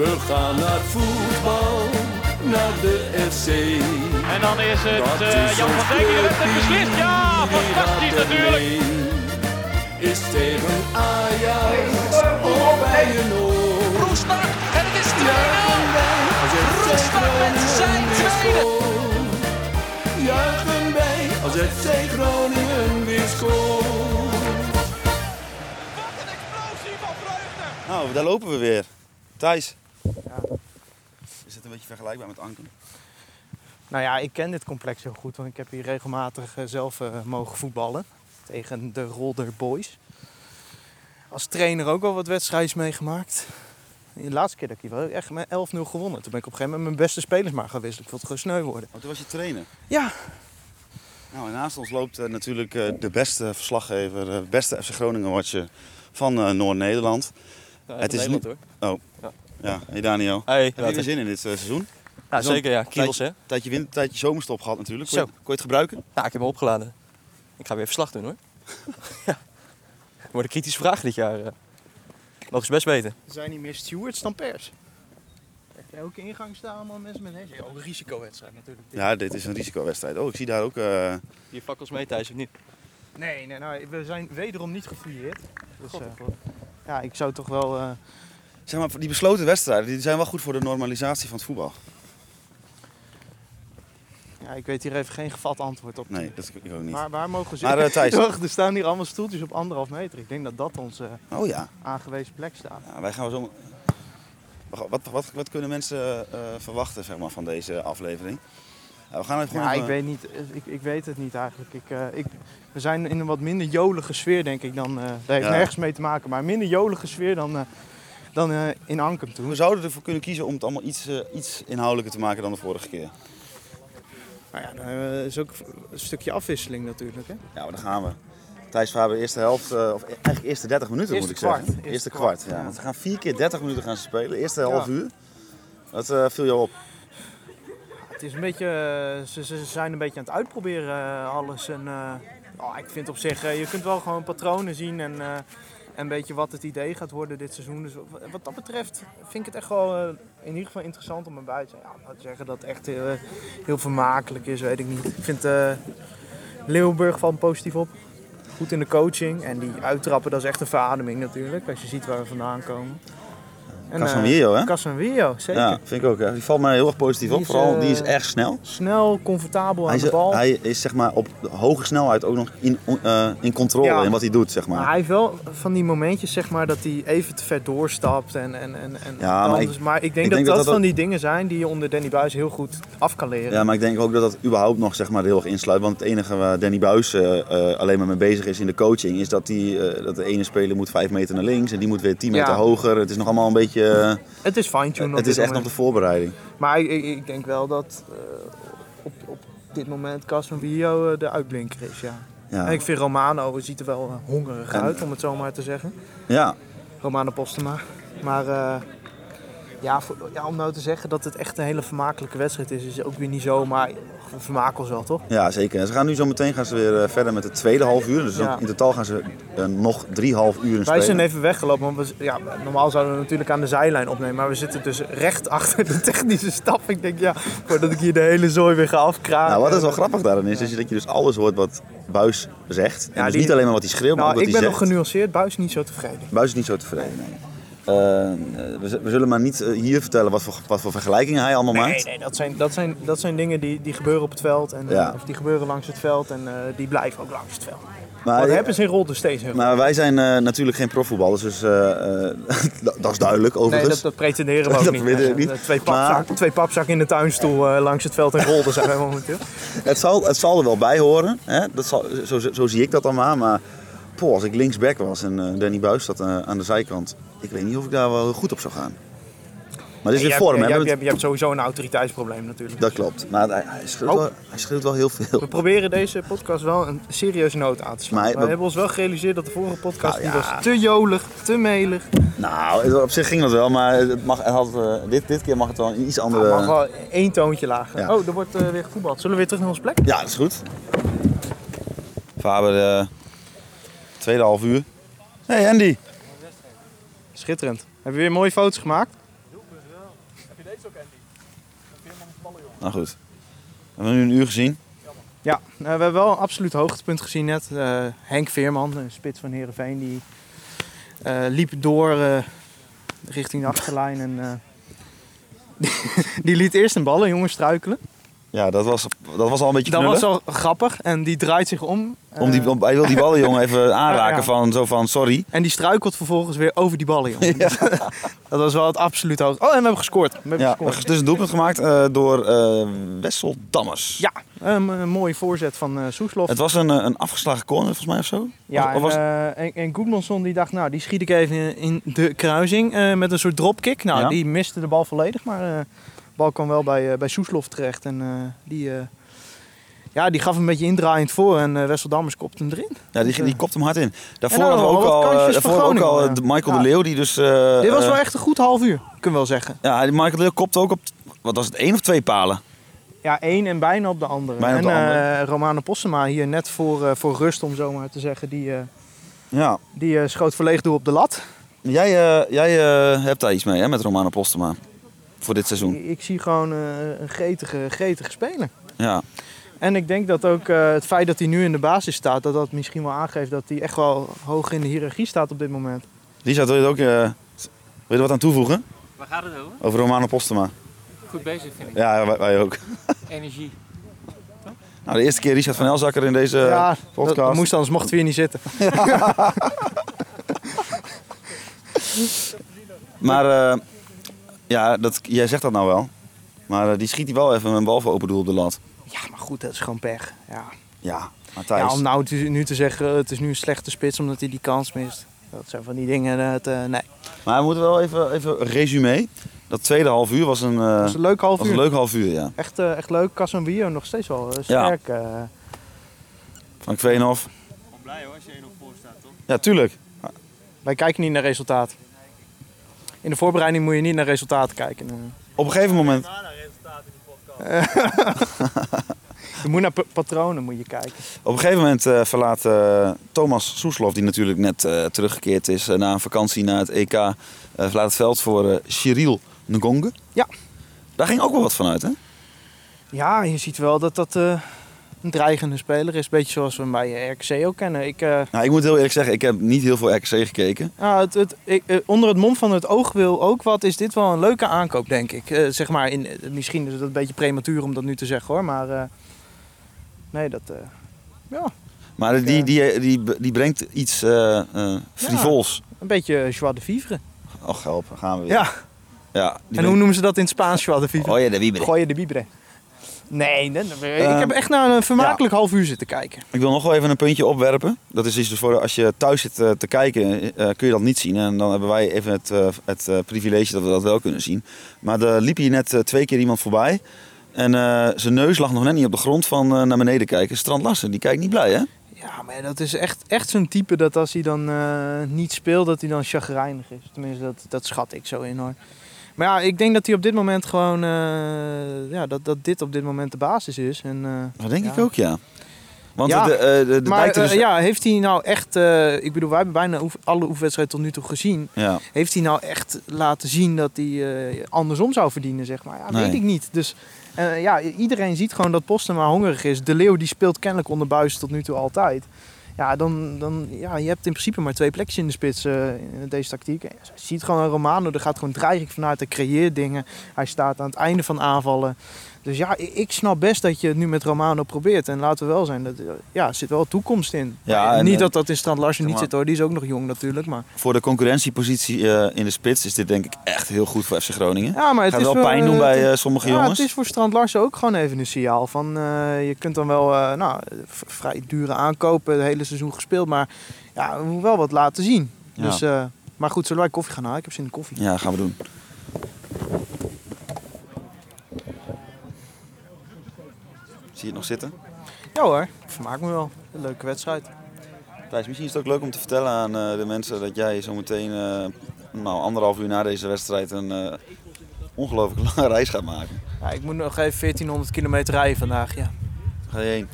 We gaan naar voetbal, naar de FC. En dan is het Dat eh, is Jan ons van Dijk die de wedstrijd clubteam, beslist. Ja, wie fantastisch dat er natuurlijk. mee Is tegen Ajax of bij een oor. Roestak en het is 2-0. Als FC Roestak met zijn Groningen tweede. scoort. Juichen wij als FC Groningen weer scoort. Nou, daar lopen we weer. Thijs. Is het een beetje vergelijkbaar met Anken? Nou ja, ik ken dit complex heel goed, want ik heb hier regelmatig eh, zelf eh, mogen voetballen tegen de Rolder Boys. Als trainer ook al wat wedstrijdjes meegemaakt. De laatste keer dat ik hier was, heb ik echt met 11-0 gewonnen. Toen ben ik op een gegeven moment mijn beste spelers maar gaan wisselen. Ik vond het gewoon sneu worden. Oh, toen was je trainer. Ja, Nou, en naast ons loopt eh, natuurlijk eh, de beste verslaggever, de beste FC Groningen-watcher van eh, Noord-Nederland. het is niet hoor. Oh, ja. hey Daniel. Hey, Heb je er zin in dit eh, seizoen? Ja, Zo'n zeker ja. Kiels, hè? tijdje- Tijdje, winter, tijdje zomerstop gehad natuurlijk. Kon je, Zo. kon je het gebruiken? Ja, Nou, ik heb hem opgeladen. Ik ga weer verslag doen, hoor. ja. Wordt een kritische vraag dit jaar. eh. Mogen ze best weten. er zijn niet meer stewards dan pers. Echt elke ingang staan allemaal mensen met hesjes. Ook een risicowedstrijd natuurlijk. Ja, dit is een risicowedstrijd. Oh, ik zie daar ook... eh, Je fakkels mee thuis, of niet? Nee, nee, nou, we zijn wederom niet gefouilleerd. Dus, eh, ja, ik zou toch wel... eh, zeg maar, die besloten wedstrijden die zijn wel goed voor de normalisatie van het voetbal. ja, ik weet hier even geen gevat antwoord op. Nee, dat ik ook niet. Maar waar mogen ze? Maar, eh, Thijs. Wacht, er staan hier allemaal stoeltjes op anderhalf meter. Ik denk dat dat onze eh, Oh ja. aangewezen plek staat. Ja, Nou, wij gaan zo. Wat, wat, wat, wat kunnen mensen eh, verwachten zeg maar, van deze aflevering? Ja, we gaan even gewoon. Ja, ik eh, weet, niet, eh, ik, ik weet het niet eigenlijk. Ik, eh, ik, we zijn in een wat minder jolige sfeer, denk ik, dan... eh dat heeft Ja. nergens mee te maken, maar een minder jolige sfeer dan, eh, dan eh, in Ankem We toen. zouden ervoor kunnen kiezen om het allemaal iets, eh, iets inhoudelijker te maken dan de vorige keer. Nou ja, dan hebben we- is ook een stukje afwisseling natuurlijk, hè? Ja, maar daar gaan we. Thijs Faber, eerste helft, eh, of e- eigenlijk eerste 30 minuten Eerste moet ik zeggen. kwart. Eerste Eerste kwart, kwart, ja. ja. Want we gaan vier keer 30 minuten gaan ze spelen. Eerste half Ja. uur. Dat eh, viel jou op. Het is een beetje, eh, ze, ze zijn een beetje aan het uitproberen eh, alles. En, eh, oh, ik vind op zich, eh, je kunt wel gewoon patronen zien en, eh, en een beetje wat het idee gaat worden dit seizoen. Dus w- wat dat betreft vind ik het echt wel eh, in ieder geval interessant om erbij te zijn. Ja, laat ik zeggen dat het echt heel, eh, heel vermakelijk is, weet ik niet. Ik vind eh Leeuwenburg van positief op. Goed in de coaching. En die uittrappen, dat is echt een verademing natuurlijk. Als je ziet waar we vandaan komen. En, eh, Casemiro, hè? Casemiro, zeker. Ja, vind ik ook. hè. Die valt mij heel erg positief Die op. is, Vooral eh, die is erg snel. Snel, comfortabel aan Hij is, de bal. hij is zeg maar op hoge snelheid ook nog in, eh, in controle Ja. in wat hij doet. Zeg maar. Maar hij heeft wel van die momentjes, zeg maar, dat hij even te ver doorstapt. En, en, en, en Ja, maar anders. ik- maar ik denk dat denk dat, dat dat van ook- die dingen zijn die je onder Danny Buis heel goed af kan leren. Ja, maar ik denk ook dat dat überhaupt nog zeg maar, heel erg insluit. Want het enige waar Danny Buis eh, eh, alleen maar mee bezig is in de coaching, is dat, die, eh, dat de ene speler moet 5 meter naar links en die moet weer 10 meter Ja. hoger. Het is nog allemaal een beetje. eh, Het is fine-tune. op het is dit echt nog de moment. voorbereiding. Maar ik, ik, ik denk wel dat eh, op, op dit moment Casemiro eh, de uitblinker is, ja. Ja. En ik vind Romano ziet er wel eh, hongerig En- uit, om het zo maar te zeggen. ja. Romano Postema. Maar eh, ja, voor- ja, om nou te zeggen dat het echt een hele vermakelijke wedstrijd is, is ook weer niet zo. Maar we vermaken ons wel, toch? ja, zeker. En ze gaan nu zo meteen gaan ze weer eh, verder met de tweede half uur. Dus dan- Ja. in totaal gaan ze eh, nog drie half uur spelen. Wij zijn even weggelopen, want we, ja, normaal zouden we natuurlijk aan de zijlijn opnemen. Maar we zitten dus recht achter de technische staf. Ik denk, ja, voordat ik hier de hele zooi weer ga afkraken. Nou, wat is wel grappig daarin is, is dat je dus alles hoort wat Buis zegt. En Ja, dus die- niet alleen maar wat hij schreeuwt, maar Nou, ook wat ik hij ben zegt. nog genuanceerd, buis niet zo tevreden. Buis is niet zo tevreden. nee. Eh, we, z- we zullen maar niet eh, hier vertellen wat voor, wat voor vergelijkingen hij allemaal maakt. Nee, nee, dat zijn, dat zijn, dat zijn dingen die, die gebeuren op het veld. En, eh, Ja. Of die gebeuren langs het veld en eh, die blijven ook langs het veld. Maar, Maar dat hebben ze in Rolde steeds heel goed. maar wij zijn eh, natuurlijk geen profvoetballers, dus eh, eh, dat dat is duidelijk Nee, overigens. dat, dat pretenderen we ook Dat niet. willen we Nee, niet. Twee, papzak, Maar- twee papzakken in de tuinstoel eh, langs het veld en Rolde zijn wij momenteel. het, zal, het zal er wel bij horen, hè? Dat zal, zo, zo, zo zie ik dat dan maar. Maar poh, als ik linksback was en eh, Danny Buis zat eh, aan de zijkant, ik weet niet of ik daar wel goed op zou gaan. Maar dit is Je weer hebt- vorm, hè? je We hebt- je hebben hebt- je hebt sowieso een autoriteitsprobleem natuurlijk. het- Dat klopt. Maar hij, hij, schreeuwt Oh. wel, hij schreeuwt wel heel veel. We proberen deze podcast wel een serieuze noot aan te slaan. Maar- we dat- hebben ons wel gerealiseerd dat de vorige podcast Nou die ja. was te jolig, te melig. Nou, het- op zich ging dat wel, maar het mag, het had, eh, dit, dit keer mag het wel een iets andere... Het mag wel één toontje lager. Ja. Oh, er wordt eh, weer gevoetbald. Zullen we weer terug naar onze plek? Ja, dat is goed. Faber, eh, tweede half uur. hey Andy. Schitterend. Hebben we weer mooie foto's gemaakt? is ook Andy. Dat is helemaal niet ballen, jongen. Nou goed. We hebben nu een uur gezien. Ja, eh, we hebben wel een absoluut hoogtepunt gezien net. Eh, Henk Veerman, de spits van Herenveen, die eh, liep door eh, richting de achterlijn. En, eh, die liet eerst een ballen, jongen, struikelen. Ja, dat was, dat was al een beetje Dat knullig. was al grappig en die draait zich om. eh, Om die, om- hij wil die ballenjongen even aanraken Ja, ja. van zo van sorry. En die struikelt vervolgens weer over die ballen, jongen. dat was wel het absoluut hoogte. Oh, en we hebben gescoord. We hebben Ja, er gescoord. is dus een doelpunt gemaakt eh, door eh Wessel Dammers. Ja, een, een mooie voorzet van eh Soeslof. Het was een, eh, een afgeslagen corner volgens mij of zo. Ja, Of en, was- eh, en, en Goedmanson die dacht, nou, die schiet ik even in- in de kruising eh, met een soort dropkick. Nou, Ja. die miste de bal volledig, maar eh, de bal kwam wel bij, eh bij Soeslof terecht. En eh, die, eh, ja, die gaf een beetje indraaiend voor en eh Wessel Dammers kopte hem erin. ja, die, die kopte hem hard in. Daarvoor En dan hadden we nog ook wel eh, nou, al, wat eh, kansjes daarvoor voor ook al eh, Groningen, de Michael ja. de Leeuw die dus... eh, Dit was wel eh, echt een goed half uur, kunnen we wel zeggen. Ja, die Michael de Leeuw kopte ook op, wat was het, één of twee palen? Ja, één en bijna op de andere. Bijna op en de andere. eh, Romano Possema hier net voor, eh, voor rust, om zo maar te zeggen, die, eh, Ja. die eh, schoot verleeg door op de lat. Jij, eh, jij eh, hebt daar iets mee hè, met Romano Postema. Voor dit seizoen. Ik, ik zie gewoon eh, een gretige, gretige speler. Ja. En ik denk dat ook eh, het feit dat hij nu in de basis staat, dat dat misschien wel aangeeft dat hij echt wel hoog in de hiërarchie staat op dit moment. Lisa, wil je er ook eh, wil je er wat aan toevoegen? Waar gaat het over? Over Romano Postema. Goed bezig vind ik. Ja, wij, wij ook. Energie. Nou, de eerste keer Richard van Elzakker in deze ja, Eh, podcast. dat moest anders, mocht hij weer niet zitten. Maar eh, ja, dat, jij zegt dat nou wel. Maar eh, die schiet hij wel even een bal voor open doel op de lat. Ja, maar goed, dat is gewoon pech. Ja. Ja, Ja, Matthijs. om nou te- nu te zeggen, eh, het is nu een slechte spits omdat hij die kans mist. Dat zijn van die dingen, dat, eh, nee. Maar we moeten wel even, even een resume. Dat tweede half uur was een, eh, Dat was een leuk half was een uur. leuk half uur, ja. Echt, eh, echt leuk. Casemiro nog steeds wel eh, sterk. eh. Frank Veenhoff. blij hoor, als je 1-0 voor staat, toch? Ja, tuurlijk. wij kijken niet naar resultaat. In de voorbereiding moet je niet naar resultaten kijken. eh. Op een gegeven moment... je moet naar pa- patronen moet je kijken. Op een gegeven moment eh, verlaat eh, Thomas Soeslof, die natuurlijk net eh, teruggekeerd is eh, na een vakantie naar het EK, eh, verlaat het veld voor eh Cyril Ngonge. Ja. Daar ging ook wel wat van uit, hè? Ja, je ziet wel dat dat eh, een dreigende speler is. Beetje zoals we hem bij RKC ook kennen. Ik, eh, Nou, ik moet heel eerlijk zeggen, ik heb niet heel veel RKC gekeken. nou, het, het, ik, eh, onder het mom van het oog wil ook wat, is dit wel een leuke aankoop, denk ik. Eh, zeg maar in, eh, misschien is het een beetje prematuur om dat nu te zeggen hoor, maar eh, nee, dat, eh, Maar die, die, die, die brengt iets eh, eh, frivols. een beetje joie de vivre. Och, help, daar gaan we weer. Ja, Ja, die en hoe noemen ze dat in het Spaans, joie de brengt- vivre? Oh ja, de Wieber. Gooi je de bibre. Nee, nee, nee, Eh, ik heb echt naar een vermakelijk half uur zitten kijken. Ik wil nog wel even een puntje opwerpen. Dat is iets dus voor als je thuis zit eh, te kijken, eh, kun je dat niet zien. En dan hebben wij even het, eh, het eh, privilege dat we dat wel kunnen zien. Maar er liep hier net eh, twee keer iemand voorbij. En eh, zijn neus lag nog net niet op de grond van eh, naar beneden kijken. Strand Larsen, die kijkt niet blij, hè? Ja, maar dat is echt, echt zo'n type dat als hij dan eh, niet speelt, dat hij dan chagrijnig is. Tenminste, dat, dat schat ik zo in hoor. Maar ja, ik denk dat hij op dit moment gewoon, eh, ja, dat, dat dit op dit moment de basis is. En, eh, Dat denk Ja. ik ook, ja. Want Ja, de, eh, de, de maar lijkt er eh, dus- ja, heeft hij nou echt, eh, ik bedoel, wij hebben bijna oef- alle oefenwedstrijden tot nu toe gezien. ja. Heeft hij nou echt laten zien dat hij eh, andersom zou verdienen, zeg maar? Ja, Nee. weet ik niet. Dus eh, ja, iedereen ziet gewoon dat Posten maar hongerig is. De Leeuw die speelt kennelijk onder buis tot nu toe altijd. Ja, dan, dan, ja, je hebt in principe maar twee plekjes in de spits eh, in deze tactiek. Je ziet gewoon een Romano, er gaat gewoon dreiging vanuit, hij creëert dingen. Hij staat aan het einde van aanvallen. Dus ja, ik- ik snap best dat je het nu met Romano probeert. En laten we wel zijn, dat, eh, ja, er zit wel toekomst in. Ja, Maar en, niet eh, dat dat in Strand Larsen niet maar- zit hoor, die is ook nog jong natuurlijk. Maar Voor de concurrentiepositie eh, in de spits is dit denk ik echt heel goed voor FC Groningen. Ja, maar het Gaat is wel pijn doen bij het- eh, sommige ja, jongens. het is voor Strand Larsen ook gewoon even een signaal. Van, eh, je kunt dan wel eh, nou, v- vrij dure aankopen, het hele seizoen gespeeld. Maar ja, we moeten wel wat laten zien. Ja. Dus, eh, maar goed, zullen wij koffie gaan halen? Ik heb zin in koffie. Ja, gaan we doen. Zie je het nog zitten? Ja hoor, vermaak me wel. Een leuke wedstrijd. Thijs, misschien is het ook leuk om te vertellen aan eh, de mensen dat jij zometeen, eh, nou anderhalf uur na deze wedstrijd, een eh, ongelooflijk lange reis gaat maken. Ja, ik moet nog even 1400 kilometer rijden vandaag, ja. Waar Ga je heen?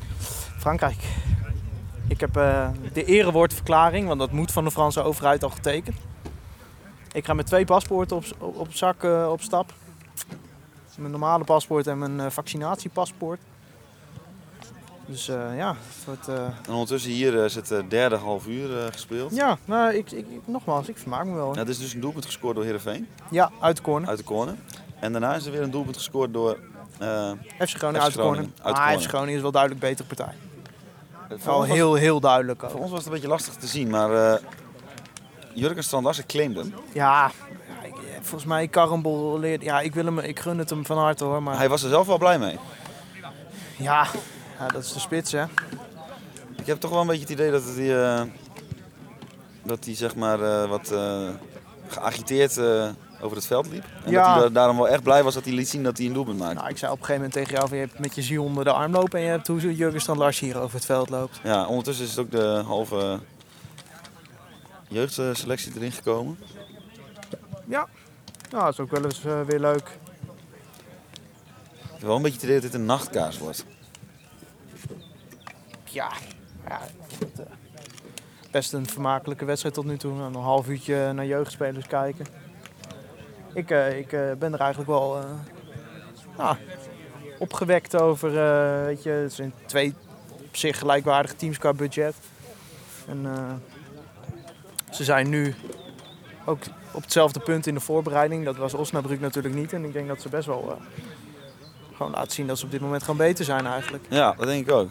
Frankrijk. Ik heb eh, de erewoordverklaring, want dat moet van de Franse overheid al getekend. Ik ga met twee paspoorten op, op, op zak eh, op stap. Mijn normale paspoort en mijn eh, vaccinatiepaspoort. Dus eh, ja, het wordt... eh, En ondertussen hier eh, is het eh, derde half uur eh, gespeeld. ja, nou, ik, ik, ik- nogmaals, ik vermaak me wel. hoor. Nou, er is dus een doelpunt gescoord door Heerenveen Ja, uit de corner. uit de corner. En daarna is er weer een doelpunt gescoord door... eh, FC Groningen FC uit de corner. Groningen, uit de Maar corner. FC Groningen is wel duidelijk betere partij. voor Al ons was- Oh, heel, heel duidelijk. ook. Voor ons was het een beetje lastig te zien, maar eh Jurgen Strandassen claimde hem. Ja, ja, ik- eh, volgens mij Karambol leert... Ja, ik, wil hem, ik gun het hem van harte hoor, maar Hij was er zelf wel blij mee. ja, ja, dat is de spits hè. Ik heb toch wel een beetje het idee dat hij, eh, dat hij zeg maar eh, wat eh, geagiteerd eh, over het veld liep. En Ja. dat hij da- daarom wel echt blij was dat hij liet zien dat hij een doelpunt maakte. Nou, ik zei op een gegeven moment tegen jou, van, je hebt met je ziel onder de arm lopen en je hebt hoe Jurgen Stan Lars hier over het veld loopt. Ja, ondertussen is het ook de halve jeugdselectie erin gekomen. Nou, dat is ook wel eens eh, weer leuk. Ik heb wel een beetje het idee dat dit een nachtkaars wordt. Ja, ja dat, eh, best een vermakelijke wedstrijd tot nu toe. Nou, Een half uurtje naar jeugdspelers kijken. Ik, eh, ik eh, ben er eigenlijk wel eh, nou, opgewekt over. eh, weet je, het zijn twee op zich gelijkwaardige teams qua budget. En, eh, ze zijn nu ook op hetzelfde punt in de voorbereiding. Dat was Osnabrück natuurlijk niet. En ik denk dat ze best wel eh, gewoon laten zien dat ze op dit moment gewoon beter zijn eigenlijk. Ja, dat denk ik ook.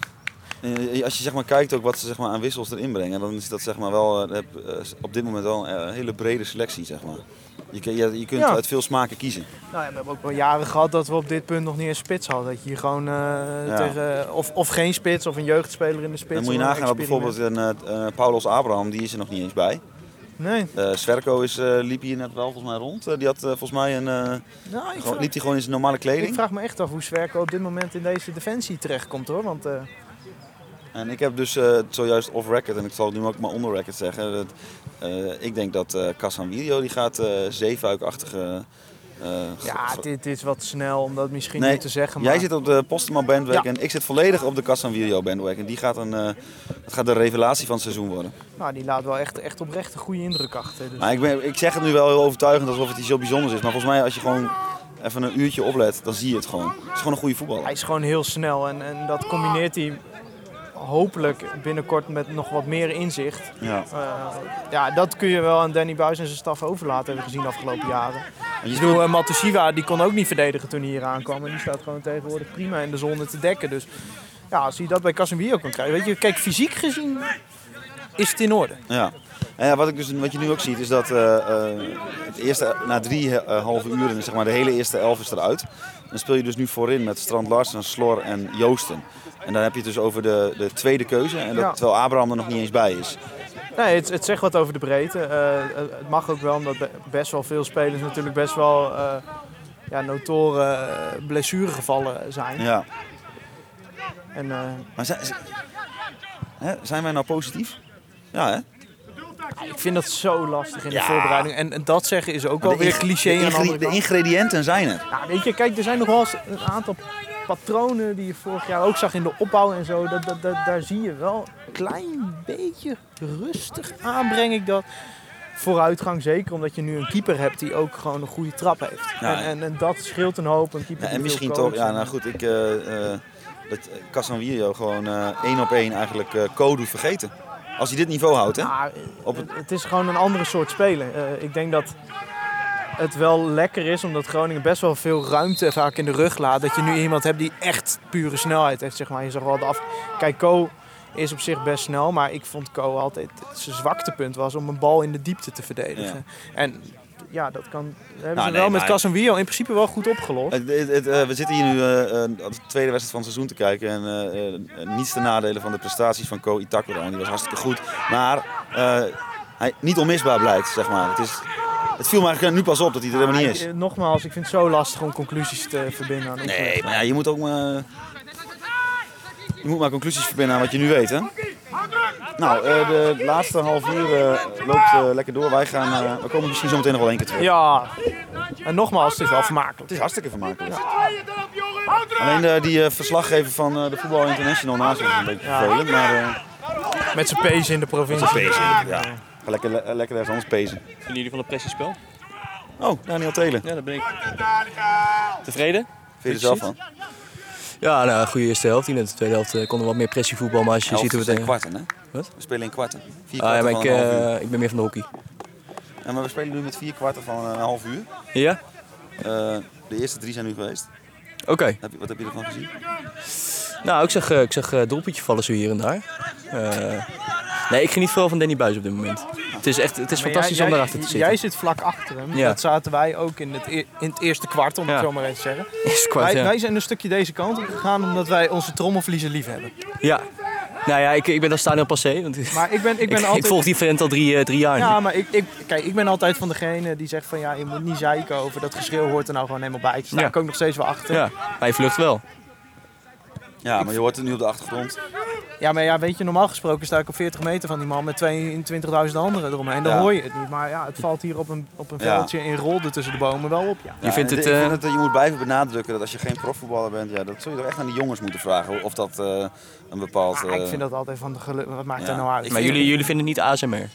Eh, Als je zeg maar, kijkt ook wat ze zeg maar, aan wissels erin brengen, dan is dat zeg maar, wel, eh, heb, eh, op dit moment wel een eh, hele brede selectie. Zeg maar. je, kun- je, je kunt Ja. uit veel smaken kiezen. Nou ja, we hebben ook wel jaren gehad dat we op dit punt nog niet eens spits hadden. Dat je hier gewoon eh, tegen, eh, of, of geen spits of een jeugdspeler in de spits. Dan moet je of een nagaan dat bijvoorbeeld experiment. een eh, eh, Paulos Abraham, die is er nog niet eens bij. Nee, Eh Sverko is, eh, liep hier net wel volgens mij rond. Eh, die had eh, volgens mij een, eh, nou, ik, gewoon, vraag, liep hij gewoon in zijn normale ik kleding. vraag me echt af hoe Zwerko op dit moment in deze defensie terechtkomt hoor. Want eh, En ik heb dus eh, zojuist off-record, en ik zal het nu ook maar onder-record zeggen. Dat, eh, ik denk dat eh Casanvirio, die gaat eh zeefuikachtige... eh, ja, ge- dit is wat snel om dat misschien Nee, niet te zeggen. Maar Jij zit op de Postema bandwagon en ik zit volledig op de Casanvirio bandwagon. Die gaat een, eh, dat gaat de revelatie van het seizoen worden. nou, die laat wel echt, echt oprecht een goede indruk achter. Dus. Maar ik, ben, ik zeg het nu wel heel overtuigend alsof het iets heel bijzonders is. Maar volgens mij als je gewoon even een uurtje oplet, dan zie je het gewoon. Het is gewoon een goede Hij voetballer. is gewoon heel snel en, en dat combineert hij hopelijk binnenkort met nog wat meer inzicht. Ja. Eh, ja, dat kun je wel aan Danny Buis en zijn staf overlaten hebben we gezien de afgelopen jaren. je Ik bedoel, uh, Matusiwa die kon ook niet verdedigen toen hij hier aankwam. En die staat gewoon tegenwoordig prima in de zone te dekken. Dus ja, als hij dat bij Casemiro kan krijgen. Weet je, kijk, fysiek gezien is het in orde. Ja. En ja, wat, ik dus, wat je nu ook ziet is dat eh, eh, het eerste, na drie eh, halve uren, zeg maar, de hele eerste elf is eruit. Dan speel je dus nu voorin met Strand Larsen, Slor en Joosten. En dan heb je het dus over de, de tweede keuze. En dat, Ja. Terwijl Abraham er nog niet eens bij is. Nee, het, het zegt wat over de breedte. Eh, het- het mag ook wel, omdat be- best wel veel spelers natuurlijk best wel eh ja, notoren eh, blessuregevallen zijn. Ja. En eh, Maar zijn, z- hè, zijn wij nou positief? Ja, hè? ik vind dat zo lastig in de voorbereiding. En, en dat zeggen is ook wel weer ing- cliché de, aan de ingre- andere de kant. ingrediënten zijn er. Ja, weet je, kijk, er zijn nog wel eens een aantal patronen die je vorig jaar ook zag in de opbouw en zo. Dat, dat, dat, daar zie je wel een klein beetje rustig aan, breng ik dat. Vooruitgang zeker, omdat je nu een keeper hebt die ook gewoon een goede trap heeft. Ja. en, en, en dat scheelt een hoop. Een keeper Ja, die en veel misschien coacht. toch, ja, nou goed, ik. eh, eh, dat Casanvirio gewoon eh, één op één eigenlijk eh code vergeten. Als hij dit niveau houdt, hè? Maar, Op het- Ah, het... is gewoon een andere soort spelen. Eh, ik denk dat het wel lekker is, omdat Groningen best wel veel ruimte vaak in de rug laat. Dat je nu iemand hebt die echt pure snelheid heeft, zeg maar. Je zag wel de af... Kijk, Ko is op zich best snel, maar ik vond Ko altijd... Zijn zwaktepunt was om een bal in de diepte te verdedigen. En ja, dat kan... Hebben Nou, ze nee, wel met maar- Casemiro in principe wel goed opgelost. Het- het- het, eh, we zitten hier nu eh, eh, op de tweede wedstrijd van het seizoen te kijken. En eh, eh, niets te nadelen van de prestaties van Ko Itakura. Die was hartstikke goed. Maar eh, hij niet onmisbaar blijkt, zeg maar. Het, is, het viel me eigenlijk nu pas op dat hij er helemaal niet is. Maar, eh, Nogmaals, ik vind het zo lastig om conclusies te verbinden aan oefeningen. Nee, maar ja, je moet ook maar... Je moet maar conclusies verbinden aan wat je nu weet, hè? Nou, eh, de laatste half uur eh, loopt eh, lekker door. Wij gaan... eh, we komen misschien zo meteen nog wel één keer terug. Ja, en nogmaals, het is wel vermakelijk. Het is hartstikke vermakelijk. tweeën erop, jongen! Houd erop! Alleen eh, die eh, verslaggever van eh, de Voetbal International naast ons is een beetje vervelend, maar... eh, Met zijn pees in de provincie. Ja. Ga lekker, le- lekker ergens anders pezen. Vinden jullie van het pressiespel? Oh, Daniel Telen. Ja, daar ben ik Daar, daar, daar. tevreden. Vind je er zelf van? Ja, nou, goede eerste helft. In de tweede helft eh, kon er wat meer pressievoetbal, maar als je ziet hoe we het... spelen in eh, kwarten, hè? Wat? We spelen in kwarten. Vier ah, ja, kwarten maar van ik, een half uur. eh, ik ben meer van de hockey. Ja, maar we spelen nu met vier kwarten van een half uur. Ja? Eh, de eerste drie zijn nu geweest. Oké. Heb je, wat heb je ervan gezien? Nou, ik zag, eh, ik zag eh, doelpuntje vallen zo hier en daar. Eh, nee, ik geniet vooral van Danny Buis op dit moment. Het is echt het is fantastisch om daarachter te zitten. Jij zit vlak achter hem. Ja. Dat zaten wij ook in het, e- in het eerste kwart, om Ja. het zo maar eens te zeggen. Is kwart, Wij, ja. wij zijn een stukje deze kant op gegaan omdat wij onze trommelvliezen lief hebben. ja. Nou ja, ik, ik ben dan stadion passé. Want ik, Maar ik ben, ik ben ik altijd... volg die vent al drie, eh, drie jaar. nu. Ja, maar ik, ik, kijk, ik ben altijd van degene die zegt van ja, je moet niet zeiken over dat geschreeuw hoort er nou gewoon helemaal bij. Daar sta Ja. ik ook nog steeds wel achter. ja. Hij vlucht wel. Ja, maar je hoort het nu op de achtergrond. Ja, maar ja, weet je, normaal gesproken sta ik op 40 meter van die man met 22.000 anderen eromheen. Dan Ja. hoor je het niet. Maar ja, het valt hier op een, op een Ja. veldje in rolde tussen de bomen wel op. Ja. Je Ja, vindt en het... ik eh, vind dat je moet blijven benadrukken dat als je geen profvoetballer bent, ja, dat zul je toch echt aan die jongens moeten vragen. Of dat eh, een bepaald... Ah, ik eh, vind dat altijd van de geluk. Wat maakt Ja. dat nou uit? Maar jullie, jullie vinden het niet ASMR? Nee.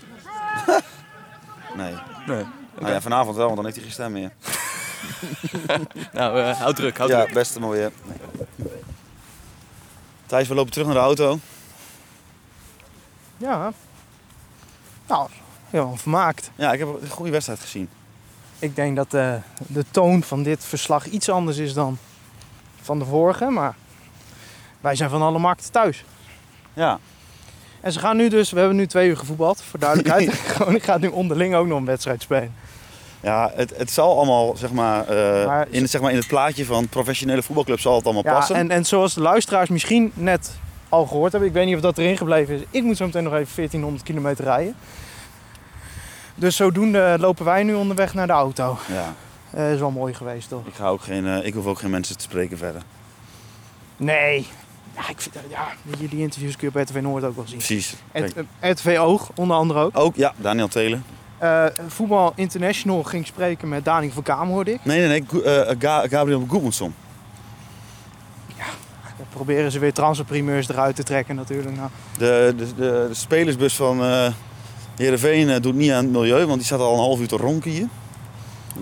Nee. Nou ja, vanavond wel, want dan heeft hij geen stem meer. Nou, eh, houd druk, houd Ja, druk. beste mooi. hè. Thijs, we lopen terug naar de auto. Ja. Nou, helemaal vermaakt. Ja, ik heb een goede wedstrijd gezien. Ik denk dat eh, de toon van dit verslag iets anders is dan van de vorige. Maar wij zijn van alle markten thuis. Ja. En ze gaan nu dus, we hebben nu twee uur gevoetbald, voor duidelijkheid. Groningen gaat nu onderling ook nog een wedstrijd spelen. Ja, het, het zal allemaal, zeg maar, eh, Maar- in, zeg maar, in het plaatje van professionele voetbalclubs zal het allemaal Ja, passen. en, en zoals de luisteraars misschien net al gehoord hebben, ik weet niet of dat erin gebleven is. Ik moet zo meteen nog even 1400 kilometer rijden. Dus zodoende lopen wij nu onderweg naar de auto. Ja, Eh is wel mooi geweest, toch? ik, ga ook geen, eh, ik hoef ook geen mensen te spreken verder. Nee. Ja, ik vind, ja, jullie interviews kun je op RTV Noord ook wel zien. Precies. Het, eh, RTV Oog, onder andere ook. Ook, ja, Daniel Telen. Eh, Voetbal International ging spreken met Daniel van Kaam, hoorde ik. Nee, nee, nee, Gu- eh, Ga- Gabriel Goedmanson. Dan proberen ze weer transferprimeurs eruit te trekken natuurlijk. Nou, De, de, de, de spelersbus van eh Heerenveen eh, doet niet aan het milieu, want die staat al een half uur te ronken hier.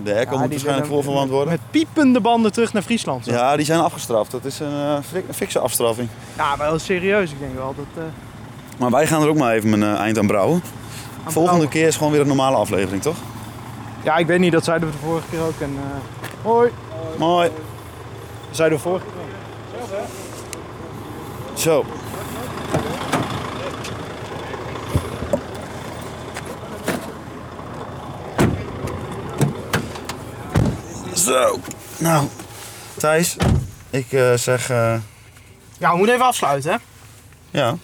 De airco Ja, moet die waarschijnlijk willen- voorverwant worden. Met piepende banden terug naar Friesland. Ja, Ja, die zijn afgestraft. Dat is een eh, frik- een fikse afstraffing. ja wel serieus. Ik denk wel dat... eh, Maar wij gaan er ook maar even een eh, eind aan brouwen. aan Volgende Brouwer- keer is gewoon weer een normale aflevering, toch? Ja, ik weet niet. Dat zeiden we de vorige keer ook. En, eh, hoi. Mooi. Dat zeiden we vorige keer. Zo. Zo. Nou, Thijs, ik eh, zeg eh, Ja, we moeten even afsluiten. Hè? ja.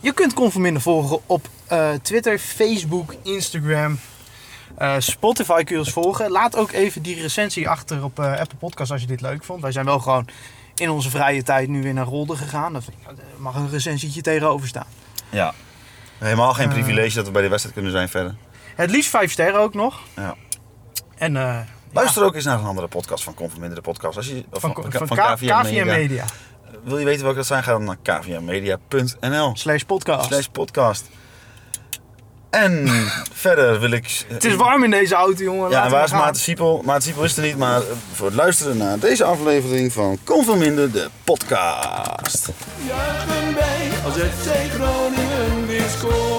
Je kunt Conforminder volgen op eh, Twitter, Facebook, Instagram. eh, Spotify kun je ons volgen. Laat ook even die recensie achter op eh, Apple Podcast als je dit leuk vond. Wij zijn wel gewoon in onze vrije tijd nu weer naar Rolde gegaan. Dat daar mag een recensietje tegenover staan. Ja. Helemaal geen privilege dat we bij de wedstrijd kunnen zijn verder. Het liefst vijf sterren ook nog. Ja. En eh, Luister ook eens naar een andere podcast van Conforminder de podcast. Als je, of van, van, van, K- KVM KVM Media. Wil je weten welke dat zijn? Ga dan naar kvmmedia.nl Slash podcast. slash podcast. En verder wil ik... Het is warm in deze auto, jongen. Ja, Laten en we waar is gaan. Maarten Siepel? Maarten Siepel is er niet, maar eh, voor het luisteren naar deze aflevering van Kom van Minder, de podcast. Juichen wij als het FC Groningen weer scoort.